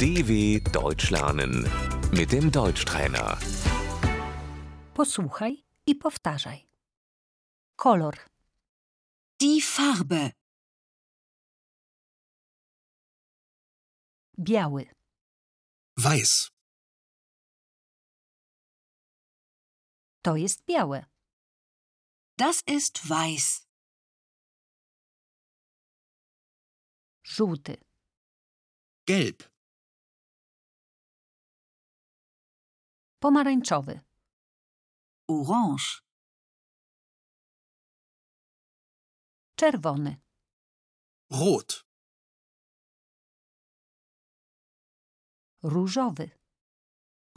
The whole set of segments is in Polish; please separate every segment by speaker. Speaker 1: DW Deutsch lernen mit dem Deutschtrainer.
Speaker 2: Posłuchaj i powtarzaj. Kolor,
Speaker 3: Die Farbe.
Speaker 2: biały,
Speaker 4: Weiß.
Speaker 2: to jest białe,
Speaker 3: Das ist weiß.
Speaker 2: żółty,
Speaker 4: Gelb.
Speaker 2: pomarańczowy,
Speaker 3: Orange.
Speaker 2: czerwony,
Speaker 4: Rot.
Speaker 2: różowy,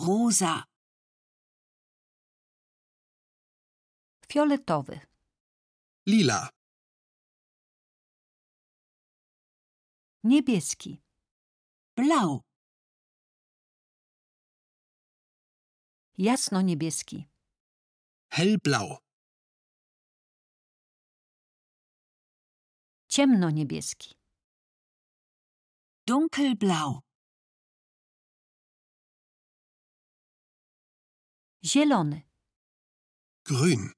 Speaker 3: Rosa.
Speaker 2: fioletowy,
Speaker 4: Lila.
Speaker 2: niebieski,
Speaker 3: Blau.
Speaker 2: jasno-niebieski,
Speaker 4: Hellblau.
Speaker 2: ciemno-niebieski,
Speaker 3: Dunkelblau.
Speaker 2: zielony,
Speaker 4: Grün.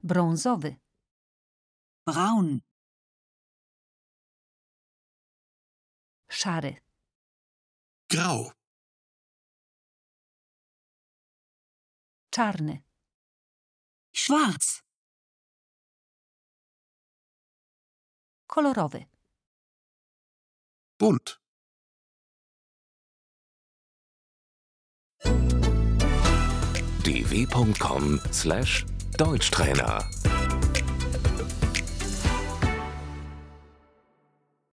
Speaker 2: brązowy,
Speaker 3: Braun.
Speaker 2: szary,
Speaker 4: Grau.
Speaker 2: czarny,
Speaker 3: Schwarz.
Speaker 2: kolorowy,
Speaker 4: Bunt.
Speaker 1: dw.com/deutschtrainer